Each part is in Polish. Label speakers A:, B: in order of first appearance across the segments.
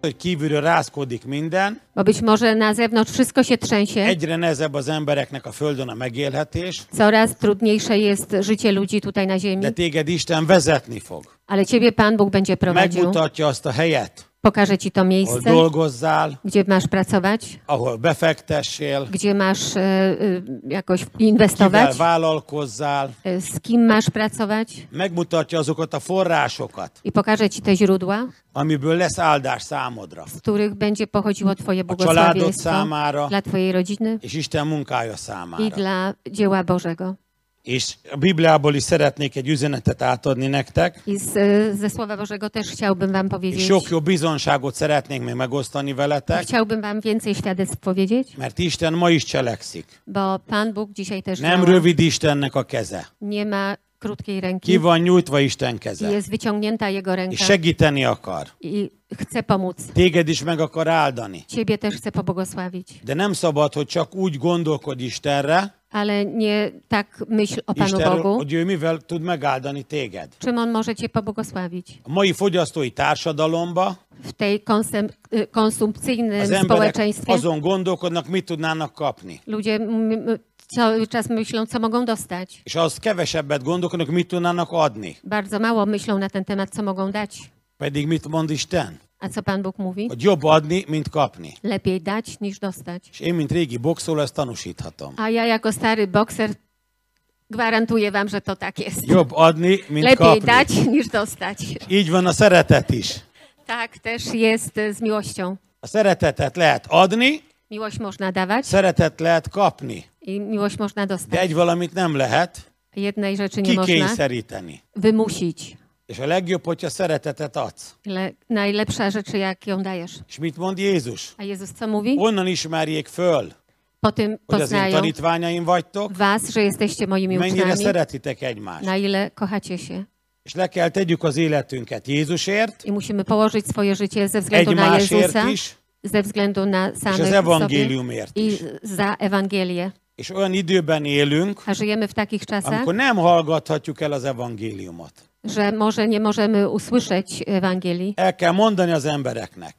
A: hogy kívülről rázkodik minden,
B: Bo być może na zewnątrz wszystko się trzęsie,
A: egyre nehezebb az embereknek a földön a megélhetés,
B: coraz trudniejsze jest życie ludzi tutaj na ziemi,
A: de téged Isten vezetni fog.
B: ale ciebie Pan Bóg będzie prowadził.
A: Megmutatja azt a helyet,
B: Pokaże ci to
A: ahol
B: miejsce,
A: dolgozzál,
B: gdzie masz pracować,
A: ahol befektessél,
B: gdzie masz e, e, jakoś
A: kivel
B: inwestować,
A: vállalkozzál.
B: e, z kim masz pracować
A: Megmutatja azokat a forrásokat,
B: i pokaże ci te źródła,
A: amiből lesz áldás számodra,
B: z których będzie pochodziło Twoje
A: a családod
B: błogosławieństwo
A: számára,
B: dla Twojej rodziny
A: és Isten munkája
B: i
A: számára.
B: dla dzieła Bożego.
A: És a Bibliából is szeretnék egy üzenetet átadni nektek,
B: I z, e, ze Słowa Bożego też chciałbym Wam
A: és
B: powiedzieć,
A: sok jó bizonságot szeretnék még megosztani veletek,
B: chciałbym Wam więcej świadectw powiedzieć,
A: mert Isten ma is cselekszik.
B: bo Pan Bóg dzisiaj też
A: Nem
B: działa.
A: rövid Istennek a keze.
B: nie ma krótkiej ręki
A: Ki van nyújtva Isten
B: i
A: keze,
B: jest wyciągnięta Jego ręka
A: és segíteni akar.
B: i chce pomóc.
A: Téged is meg akar áldani.
B: Ciebie też chce pobłogosławić,
A: De nem szabad, hogy csak úgy gondolkodj Istenre,
B: ale nie tak myśl o Panu
A: Istenről,
B: Bogu.
A: hogy ő mivel tud megáldani téged.
B: Czym On może Cię pobłogosławić?
A: A mai fogyasztói társadalomba
B: W tej konsum- y,
A: az
B: konsumpcyjnym
A: emberek
B: społeczeństwie
A: azon gondolkodnak, mit tudnának kapni.
B: ludzie m- m- cały czas myślą, co mogą dostać.
A: És az kevesebbet gondolkodnak, mit tudnának adni.
B: Bardzo mało myślą na ten temat, co mogą dać.
A: Pedig mit mond Isten?
B: A co Pan Bóg mówi?
A: Hogy jobb adni, mint kapni.
B: Lepiej dać niż dostać.
A: És én, mint régi boxoló, ezt tanúsíthatom.
B: A ja jako stary bokser gwarantuję wam, że to tak jest.
A: Jobb adni, mint
B: Lepiej
A: kapni.
B: dać niż dostać.
A: Így van a szeretet is.
B: Tak też jest e, z miłością.
A: A szeretetet lehet adni,
B: Miłość można dawać
A: szeretet lehet kapni.
B: i miłość można
A: De
B: dostać.
A: egy valamit nem lehet
B: Jednej rzeczy nie można
A: kikényszeríteni.
B: wymusić.
A: És a legjobb, hogyha szeretetet adsz.
B: Le, najlepsza rzecz, jak ją dajesz.
A: És mit mond Jézus?
B: A Jezus co mówi?
A: Onnan ismerjék föl,
B: Po tym
A: hogy az én
B: poznają
A: tanítványaim vagytok,
B: was, że jesteście moimi
A: mennyire
B: uczniami,
A: szeretitek egymást.
B: na ile kochacie się.
A: És le kell tegyük az életünket Jézusért,
B: I musimy położyć swoje życie ze względu na
A: egymásért
B: Jezusa,
A: is,
B: ze względu na
A: és az
B: samych sobie
A: evangéliumért
B: i
A: is.
B: za Ewangelię.
A: És olyan időben élünk,
B: A żyjemy w takich czasach,
A: amikor nem hallgathatjuk el az evangéliumot.
B: że może nie możemy usłyszeć Ewangelii.
A: El kell mondani az embereknek,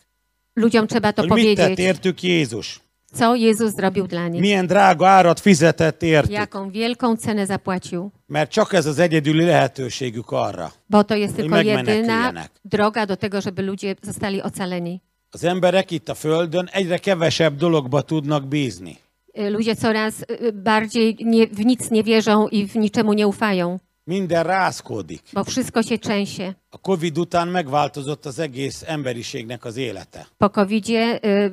B: Ludziom trzeba to
A: hogy mit tett
B: powiedzieć,
A: értük Jézus.
B: co Jezus zrobił dla nich,
A: Milyen drága árat fizetett értük.
B: jaką wielką cenę zapłacił,
A: Mert csak ez az egyedüli lehetőségük arra.
B: bo to jest tylko jedyna
A: megmeneküljenek.
B: droga do tego, żeby ludzie zostali ocaleni.
A: Az emberek itt a Földön egyre kevesebb dologba tudnak bízni.
B: Y, Ludzie coraz y, bardziej nie, w nic nie wierzą i w niczemu nie ufają,
A: Minden rázkódik.
B: bo wszystko się trzęsie.
A: A Covid után megváltozott az egész emberiségnek az élete.
B: Po COVID-zie y,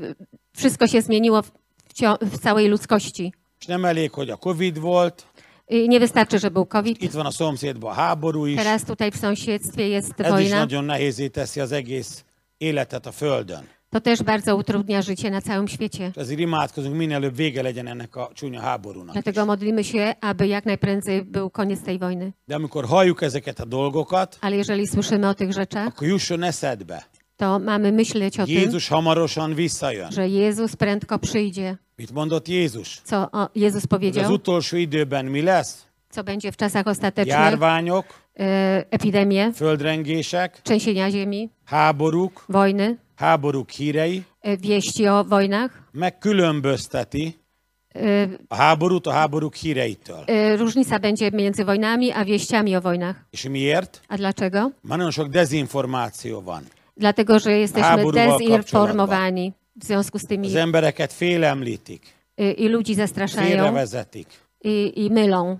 B: wszystko się zmieniło w, w, cio- w całej ludzkości.
A: És nem elég, hogy a Covid volt,
B: Y, Nie wystarczy, że był COVID.
A: itt van a szomszédban a háború is.
B: Teraz tutaj w sąsiedztwie jest
A: Ez is
B: wojna.
A: nagyon nehézé teszi az egész életet a Földön.
B: To też bardzo utrudnia życie na całym świecie.
A: És ezért imádkozunk, minél előbb vége legyen ennek a csúnya háborúnak. is.
B: Dlatego modlimy się, aby jak najprędzej był koniec tej wojny.
A: De amikor halljuk ezeket a dolgokat,
B: Ale jeżeli słyszymy o tych rzeczach,
A: akkor jusson eszedbe.
B: to mamy myśleć o tym,
A: Jézus hamarosan visszajön.
B: że Jezus prędko przyjdzie.
A: Mit mondott Jézus?
B: Co o, Jezus
A: Hogy az
B: powiedział,
A: utolsó időben mi lesz?
B: co będzie w czasach ostatecznych,
A: Járványok,
B: e, epidemie,
A: földrengések,
B: trzęsienia ziemi,
A: háborúk,
B: wojny,
A: háborúk hírei
B: e, wieści o wojnach.
A: megkülönbözteti
B: E,
A: a háborút a háborúk híreitől.
B: e, Różnica będzie między wojnami a wieściami o wojnach.
A: És miért?
B: A dlaczego?
A: Már nagyon sok dezinformáció van.
B: Dlatego, że jesteśmy
A: Háborúval
B: dezinformowani w związku z tymi
A: Az embereket félemlítik,
B: y, i ludzi zastraszają
A: félrevezetik.
B: i, i mylą.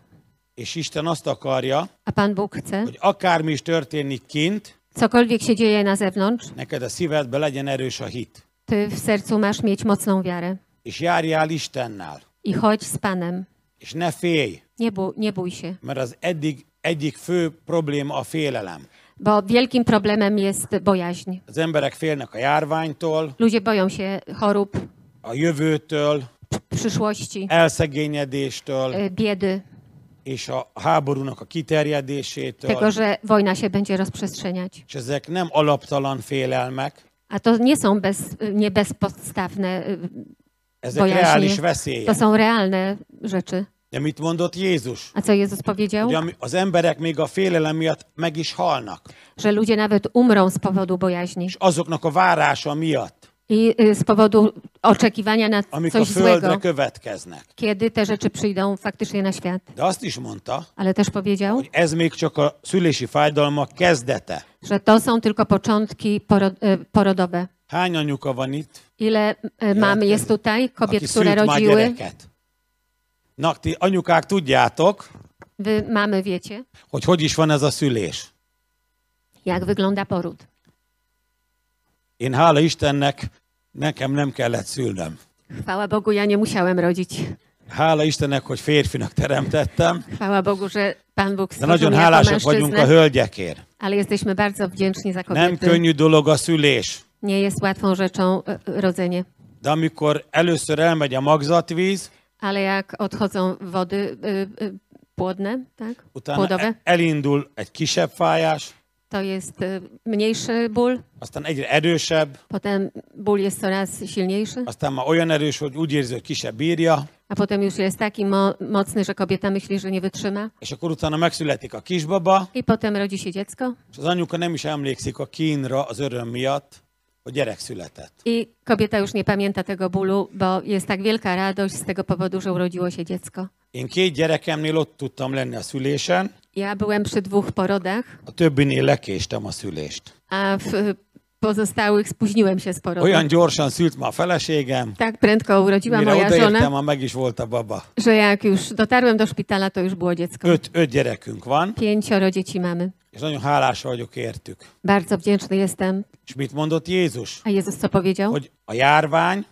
A: És Isten azt akarja,
B: A Pan Bóg chce,
A: hogy akármi is történik kint,
B: cokolwiek się dzieje na zewnątrz,
A: neked a szívedbe legyen erős a hit.
B: ty w sercu masz mieć mocną wiarę
A: És járjál Istennel.
B: i chodź z Panem.
A: És ne félj,
B: Nie, bó, nie bój się,
A: mert az eddig egyik fő probléma a félelem.
B: bo wielkim problemem jest bojaźń.
A: Az emberek félnek a járványtól,
B: Ludzie boją się chorób,
A: a jövőtől,
B: przyszłości,
A: elszegényedéstől
B: y, biedy,
A: és a háborúnak a
B: tego,
A: kiterjedésétől.
B: że wojna się będzie rozprzestrzeniać.
A: És ezek nem alaptalan félelmek,
B: A to nie są bez, y, nie bezpodstawne y,
A: ezek
B: bojaźnie.
A: reális
B: To
A: veszélyek.
B: są realne rzeczy.
A: De mit mondott Jézus?
B: A co Jezus powiedział?
A: Hogy ami- az emberek még a félelem miatt meg is halnak.
B: Że ludzie nawet umrą z powodu bojaźni
A: És azoknak a várása miatt,
B: i y, z powodu oczekiwania na
A: amik a
B: coś
A: földre
B: złego,
A: következnek.
B: kiedy te rzeczy przyjdą faktycznie na świat.
A: De azt is mondta,
B: Ale też powiedział,
A: hogy ez még csak a szülési fájdalmak kezdete.
B: że to są tylko początki poro- y, porodowe.
A: Hány anyuka van itt,
B: Ile y, mam jest tutaj kobiet,
A: aki
B: które
A: szült már
B: rodziły?
A: gyereket? Na, ti anyukák tudjátok,
B: Wy mamy wiecie,
A: hogy hogy is van ez a szülés.
B: jak wygląda poród.
A: Én hála Istennek, nekem nem kellett szülnöm.
B: Chwała Bogu, ja nie musiałem rodzić.
A: Hála Istennek, hogy férfinak teremtettem,
B: Chwała Bogu, że Pan Bóg
A: de
B: stworzył
A: nagyon
B: mnie jako
A: hálásak vagyunk a
B: mężczyznę,
A: hölgyekért.
B: ale jesteśmy bardzo wdzięczni za
A: Nem
B: kobiety.
A: könnyű dolog a szülés,
B: Nie jest łatwą rzeczą e, e, rodzenie.
A: de amikor először elmegy a magzatvíz,
B: Ale jak odchodzą wody y, y, płodne, tak?
A: utána
B: płodowe,
A: e- elindul egy kisebb fájás,
B: to jest y, mniejszy ból,
A: aztán egyre erősebb,
B: potem ból jest coraz silniejszy,
A: aztán már olyan erős, hogy úgy érzi, hogy ki se bírja,
B: a potem już jest taki mo- mocny, że kobieta myśli, że nie wytrzyma.
A: és akkor utána megszületik a kisbaba,
B: I potem rodzi się dziecko
A: és az anyuka nem is emlékszik a kínra az öröm miatt, hogy gyerek született.
B: i kobieta już nie pamięta tego bólu, bo jest tak wielka radość z tego powodu, że urodziło się dziecko.
A: Én két gyerekemnél ott tudtam lenni a szülésen,
B: Ja byłem przy dwóch porodach,
A: a többinél lekéstem a szülést.
B: a w y, pozostałych spóźniłem się z porodu.
A: Olyan gyorsan szült ma a feleségem,
B: Tak prędko urodziła
A: mire
B: moja
A: odaértem,
B: żona,
A: már meg is volt a baba.
B: że jak już dotarłem do szpitala, to już było dziecko.
A: Öt, öt gyerekünk van,
B: Pięcioro dzieci mamy.
A: és nagyon hálás vagyok értük.
B: Bardzo wdzięczny jestem.
A: És mit mondott Jézus?
B: A Jezus co powiedział?
A: Hogy a járvány,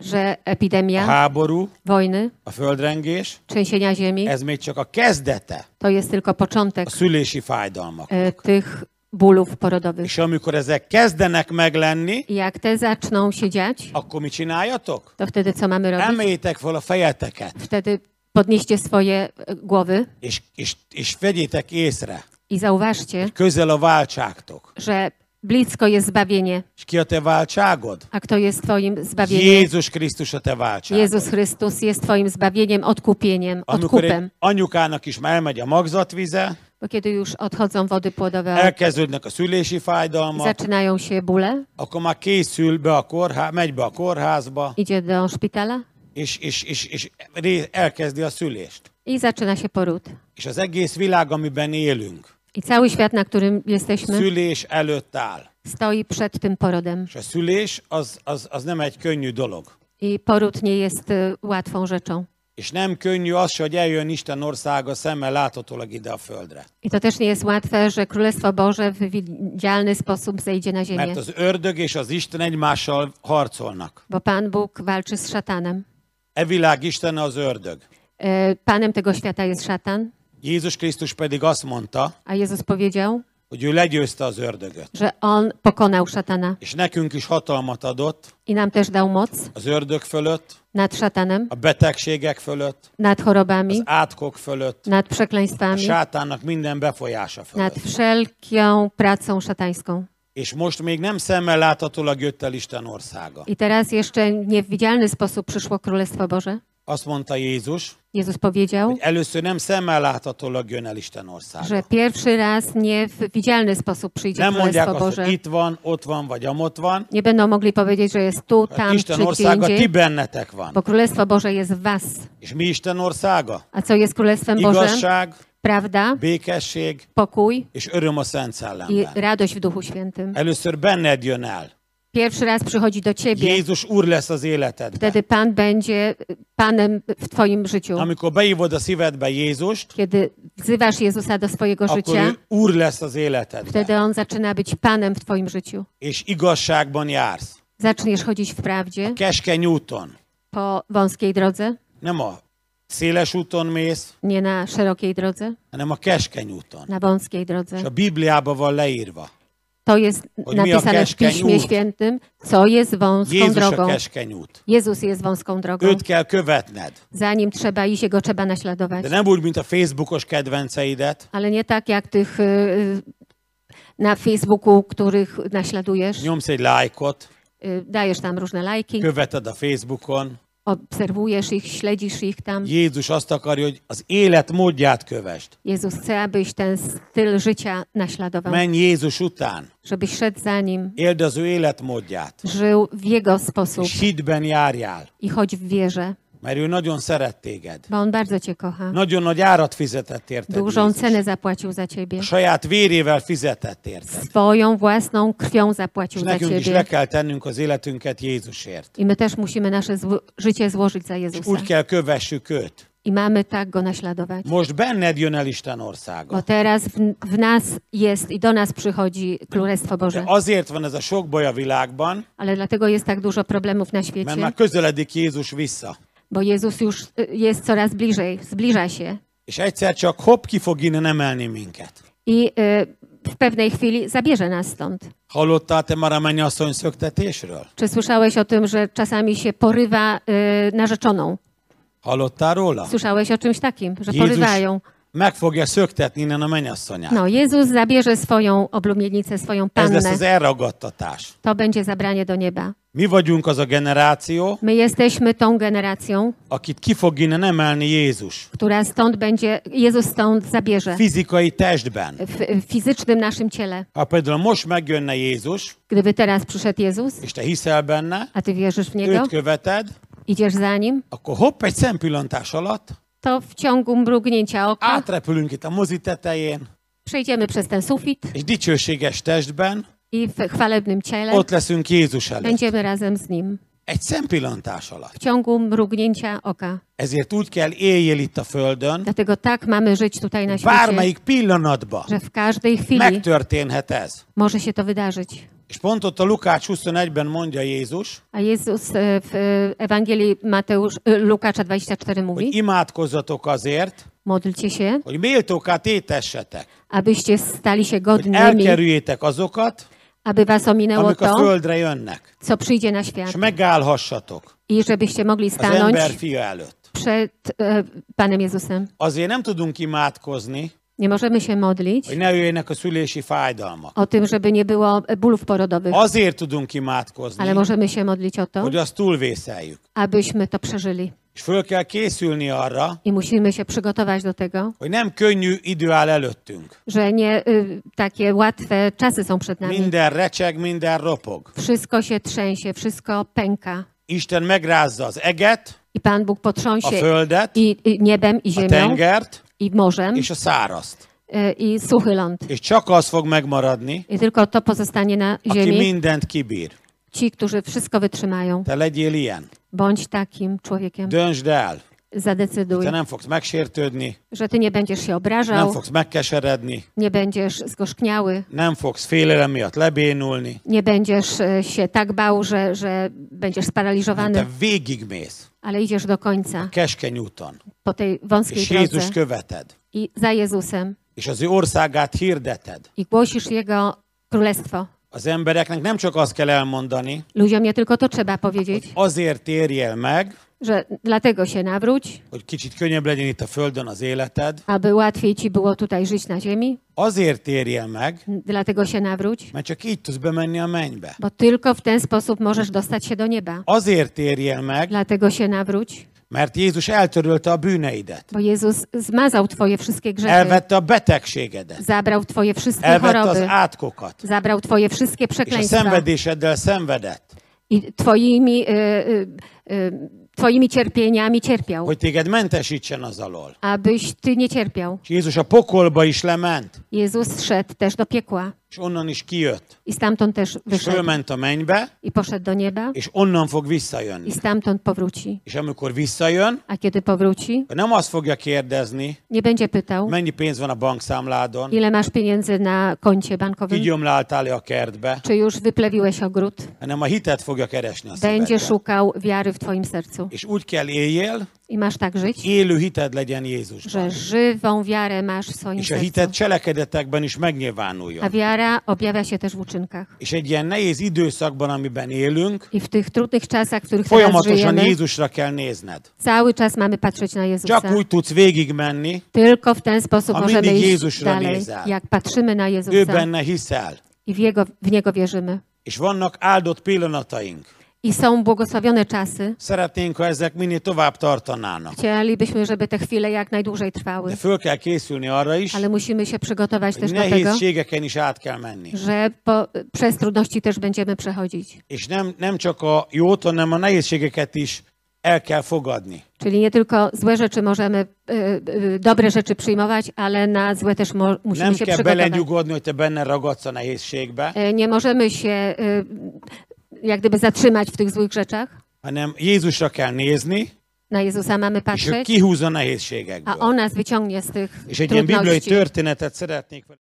B: Że
A: a
B: epidemia,
A: háború,
B: wojny,
A: a földrengés,
B: trzęsienia ziemi
A: ez még csak a kezdete
B: to jest tylko początek
A: a szülési fájdalmak.
B: e, tych bólów porodowych.
A: És amikor ezek kezdenek meglenni,
B: I Jak te zaczną się dziać,
A: akkor mit csináljatok?
B: to wtedy co mamy robić?
A: Emeljétek fel a fejeteket,
B: Wtedy podnieście swoje e, głowy
A: és, és, és vegyétek észre,
B: i zauważcie,
A: közel a váltságtok.
B: że blisko jest zbawienie.
A: És ki a te váltságod?
B: A kto jest Twoim zbawieniem?
A: Jézus Krisztus a te váltságod.
B: Jezus Chrystus jest Twoim zbawieniem, odkupieniem,
A: Amikor egy
B: odkupem.
A: anyukának is már elmegy a magzatvize,
B: Bo kiedy już odchodzą wody
A: Tak,
B: płodowe,
A: elkezdődnek a szülési fájdalmak,
B: zaczynają się bóle,
A: akkor már készül be a kórhá, megy be a kórházba,
B: idzie do szpitala
A: és, és, és, és ré- elkezdi a szülést.
B: i zaczyna się poród.
A: És az egész világ, amiben élünk,
B: I cały świat, na którym jesteśmy,
A: szülés előtt áll.
B: stoi przed tym porodem.
A: És a szülés az, az, az nem egy könnyű dolog.
B: I poród nie jest y, łatwą rzeczą.
A: És nem könnyű az, se, hogy eljön Isten országa szemmel láthatólag ide a földre.
B: I to też nie jest łatwe, że Królestwo Boże w widzialny sposób zejdzie na ziemię,
A: Mert az ördög és az Isten egymással harcolnak.
B: bo Pan Bóg walczy z szatanem.
A: E világ Istene az ördög.
B: E, Panem tego świata jest szatan,
A: Jézus Krisztus pedig azt mondta,
B: a Jezus powiedział,
A: hogy ő legyőzte az ördögöt.
B: że On pokonał szatana
A: És nekünk is hatalmat adott
B: i nam też dał moc
A: az ördög fölött,
B: nad szatanem,
A: a betegségek fölött,
B: nad
A: az
B: chorobami,
A: átkok fölött,
B: nad
A: a
B: przekleństwami,
A: sátának minden befolyása fölött.
B: nad wszelką pracą szatańską.
A: És most még nem szemmel láthatólag jött el Isten országa.
B: I teraz jeszcze nie w widzialny sposób przyszło Królestwo Boże.
A: Azt mondta Jézus,
B: Jezus powiedział,
A: hogy először nem szemmel láthatólag jön el Isten országa.
B: że pierwszy raz nie w widzialny sposób przyjdzie
A: Nem mondják
B: Królestwo
A: azt,
B: Boże.
A: hogy itt van, ott van, vagy amott van.
B: Nie będą mogli powiedzieć, że jest tu,
A: Hát
B: tam czy
A: Isten
B: gdzie
A: országa ti
B: indziej,
A: bennetek van.
B: bo Królestwo Boże jest w was.
A: És mi Isten országa?
B: A co jest Królestwem Bożym?
A: Igazság,
B: Prawda,
A: békesség
B: pokój
A: és öröm a Szent
B: i
A: Szellemben.
B: radość w Duchu Świętym.
A: Először benned jön el.
B: Pierwszy raz przychodzi do ciebie,
A: Jézus Úr lesz az életedben.
B: wtedy Pan będzie Panem w twoim życiu.
A: Amikor beívod a szívedbe Jézust,
B: Kiedy wzywasz Jezusa do swojego
A: akkor
B: życia,
A: ő Úr lesz az életedben.
B: wtedy On zaczyna być Panem w twoim życiu.
A: És igazságban jársz.
B: Zaczniesz chodzić w prawdzie,
A: Keskeny úton.
B: po wąskiej drodze,
A: Nem a széles úton mész,
B: nie na szerokiej drodze,
A: hanem a keskeny úton.
B: na wąskiej drodze.
A: És a Bibliában van leírva.
B: To jest
A: Chodzi mi o
B: napisane w
A: keszkę
B: Piśmie
A: nut.
B: Świętym, co jest wąską
A: Jézus a
B: drogą.
A: keskeny út.
B: Jezus jest wąską drogą.
A: Őt kell követned.
B: Za nim trzeba iść, jego trzeba naśladować.
A: De nem úgy, mint a Facebookos kedvenceidet.
B: Ale nie tak jak tych y, y, na Facebooku, których naśladujesz.
A: Nyomsz egy lájkot,
B: Y, Dajesz tam różne lajki,
A: követed a Facebookon,
B: obserwujesz ich, śledzisz ich tam.
A: Jézus azt akarja, hogy az élet módját kövest.
B: Jezus chce, abyś ten styl życia naśladował,
A: Menj Jézus után,
B: żebyś szedł za Nim,
A: éld az ő életmódját,
B: żył w Jego sposób
A: és hitben járjál,
B: i chodź w wierze,
A: mert ő nagyon szeret téged.
B: bo On bardzo Cię kocha.
A: Nagyon nagy árat fizetett érted
B: Dużą
A: Jézus.
B: cenę zapłacił za Ciebie.
A: A saját vérével fizetett érted.
B: Swoją własną krwią
A: És
B: zapłacił za
A: nekünk is le
B: Ciebie.
A: kell tennünk az életünket Jézusért.
B: I my też musimy nasze zło- życie złożyć za
A: És
B: Jezusa.
A: úgy kell kövessük őt.
B: I mamy tak Go naśladować.
A: Most benned jön el Isten
B: Bo
A: országa.
B: teraz w, w nas jest i do nas przychodzi Królestwo
A: De
B: Boże.
A: azért van ez a sok baj a világban,
B: Ale dlatego jest tak dużo problemów na
A: mert már
B: świecie,
A: közeledik Jézus vissza.
B: bo Jezus już y, jest coraz bliżej, zbliża się.
A: És egyszer csak hopp ki fog innen emelni minket.
B: I y, w pewnej chwili zabierze nas stąd.
A: Hallottál te már a mennyasszony szöktetésről?
B: Czy słyszałeś o tym, że czasami się porywa y, narzeczoną?
A: Hallottál róla?
B: Słyszałeś o czymś takim, że porywają?
A: meg fogja szöktetni innen a mennyasszonyát.
B: No, Jezus zabierze swoją oblubienicę, swoją
A: Ez lesz
B: pannę.
A: az elragadtatás.
B: To będzie zabranie do nieba.
A: Mi vagyunk az a generáció,
B: My jesteśmy tą generacją,
A: akit ki fog innen emelni Jézus.
B: która stąd będzie, Jezus stąd zabierze
A: Fizikai testben.
B: w, w fizycznym naszym ciele.
A: Ha például most megjönne Jézus,
B: Gdyby teraz przyszedł Jezus,
A: és te hiszel benne,
B: a ty wierzysz w Niego,
A: őt követed,
B: idziesz za Nim,
A: akkor hopp, egy szempillantás alatt
B: to w ciągu mrugnięcia oka
A: átrepülünk itt a mozi tetején,
B: przejdziemy przez ten sufit
A: és dicsőséges testben
B: i w chwalebnym ciele
A: ott leszünk Jézus előtt.
B: będziemy razem z Nim.
A: Egy szempillantás alatt.
B: W ciągu mrugnięcia oka.
A: Ezért úgy kell éljél itt a Földön,
B: Dlatego tak mamy żyć tutaj na świecie,
A: bármelyik pillanatban
B: że w każdej chwili
A: megtörténhet ez.
B: może się to wydarzyć.
A: És pont ott a Lukács 21-ben mondja Jézus,
B: A Jezus e, w e, Ewangelii Mateusz, e, Lukasza 24
A: hogy
B: mówi,
A: imádkozzatok azért,
B: módlcie się,
A: hogy méltóká tétessetek,
B: abyście stali się
A: hogy
B: godnymi,
A: elkerüljétek azokat,
B: aby was ominęło
A: amik a
B: to,
A: földre jönnek,
B: co przyjdzie na świat.
A: és megállhassatok
B: i żebyście mogli
A: az ember
B: stanąć
A: fia előtt.
B: przed e, Panem Jezusem.
A: Azért nem tudunk imádkozni,
B: Nie możemy się modlić
A: hogy ne jöjjenek a szülési fájdalmak.
B: o tym, żeby nie było bólów porodowych,
A: Azért tudunk
B: ale
A: imádkozni,
B: możemy się modlić o to,
A: hogy azt túlvészeljük.
B: abyśmy to przeżyli.
A: És föl kell készülni arra,
B: I musimy się przygotować do tego,
A: hogy nem könnyű idő áll előttünk.
B: że nie y, takie łatwe czasy są przed nami.
A: Minden recseg, minden ropog.
B: Wszystko się trzęsie, wszystko pęka.
A: Isten megrázza az eget,
B: I Pan Bóg
A: a
B: potrząsie
A: földet,
B: i, i niebem, i
A: a
B: ziemią,
A: tengert
B: i morzem,
A: és a szárazt.
B: y, i suchy ląd.
A: És csak az fog megmaradni,
B: I tylko to pozostanie na
A: aki
B: ziemi.
A: mindent kibír.
B: Ci, którzy wszystko wytrzymają,
A: Te legyél ilyen.
B: bądź takim człowiekiem.
A: Döntsd el.
B: zadecyduj,
A: Te nem fogsz megsértődni,
B: że ty nie będziesz się
A: nem
B: obrażał,
A: fogsz megkeseredni,
B: nie będziesz zgorzkniały,
A: nem fogsz félelem miatt lebénulni,
B: nie będziesz e, się tak bał, że, że będziesz
A: hanem te
B: sparaliżowany,
A: végigmész
B: ale idziesz do końca
A: keskeny úton,
B: po tej wąskiej
A: és Jézus
B: drodze
A: követed,
B: i za Jezusem
A: és az ő országát hirdeted.
B: i głosisz Jego królestwo.
A: Az embereknek nem csak azt kell elmondani,
B: Ludziom nie tylko to trzeba powiedzieć,
A: azért térjél meg,
B: że dlatego się nawróć,
A: hogy kicsit könnyebb legyen itt a Földön az életed,
B: aby łatwiej ci było tutaj żyć na ziemi,
A: azért térjél meg,
B: dlatego się nawróć,
A: mert csak így tudsz bemenni a mennybe.
B: bo tylko w ten sposób możesz dostać się do nieba.
A: Azért térjél meg,
B: Dlatego się nawróć,
A: mert Jézus eltörölte a bűneidet,
B: bo Jezus zmazał twoje wszystkie grzechy.
A: elvette a betegségedet,
B: Zabrał twoje wszystkie
A: elvette az
B: choroby.
A: átkokat,
B: Zabrał twoje wszystkie
A: és a
B: przekleństwa.
A: szenvedéseddel szenvedett,
B: I twoimi, y, y, y, twoimi cierpieniami cierpiał.
A: hogy téged mentesítsen az alól.
B: Abyś ty nie cierpiał.
A: És Jézus a pokolba is lement,
B: Jezus szedł też do piekła.
A: és onnan is kijött,
B: I stamtąd też
A: és
B: wyszedł.
A: fölment a mennybe,
B: I poszedł do nieba.
A: és onnan fog
B: I
A: visszajönni.
B: stamtąd powróci.
A: És amikor visszajön,
B: A kiedy powróci,
A: nem azt fogja kérdezni,
B: nie będzie pytał,
A: mennyi pénz van a bankszámládon,
B: ile masz pieniędzy na koncie bankowym,
A: kigyomláltál-e a kertbe,
B: czy już wyplewiłeś ogród.
A: hanem a hitet fogja keresni a
B: Będzie
A: szívedben.
B: szukał wiary w twoim sercu.
A: És úgy kell éljél,
B: I masz tak żyć,
A: élő hited legyen Jézusban.
B: że żywą wiarę masz w swoim
A: És a
B: sercu.
A: hited cselekedetekben is
B: A Hát-
A: megnyilvánuljon.
B: wiara objawia się też w uczynkach.
A: És egy ilyen nehéz időszakban, amiben élünk,
B: I w tych trudnych czasach, w których teraz
A: folyamatosan
B: żyjemy,
A: Jézusra kell nézned.
B: cały czas mamy patrzeć na Jezusa.
A: Csak úgy tudsz végigmenni,
B: Tylko w ten sposób
A: A
B: możemy
A: mindig
B: iść
A: Jézusra
B: dalej,
A: nézel.
B: jak patrzymy na
A: ő
B: Jezusa
A: benne hiszel.
B: i w, Jego, w Niego wierzymy.
A: És vannak áldott pillanataink,
B: I i są błogosławione czasy.
A: Szeretnénk, ha ezek minél tovább tartanának.
B: Chcielibyśmy, żeby te chwile jak najdłużej trwały,
A: De föl kell készülni arra is,
B: ale musimy się przygotować
A: hogy
B: też do tego,
A: nehézségeken is át kell menni.
B: że po, przez trudności też będziemy przechodzić.
A: És nem, nem csak a jót, hanem a nehézségeket is el kell fogadni.
B: Czyli nie tylko złe rzeczy możemy, y, y, dobre rzeczy przyjmować, ale na złe też mo- musimy
A: Nem
B: się
A: kell
B: przygotować.
A: belenyugodni, hogy te benne ragadsz a nehézségbe,
B: Y, Nie możemy się y, jak gdyby zatrzymać w tych złych rzeczach.
A: hanem Jézusra kell nézni,
B: Na Jezusa mamy
A: és ő
B: patrzeć,
A: kihúz a
B: Hát a
A: nehézségekből.
B: On nas wyciągnie z tych
A: És egy ilyen bibliai
B: trudności.
A: történetet szeretnék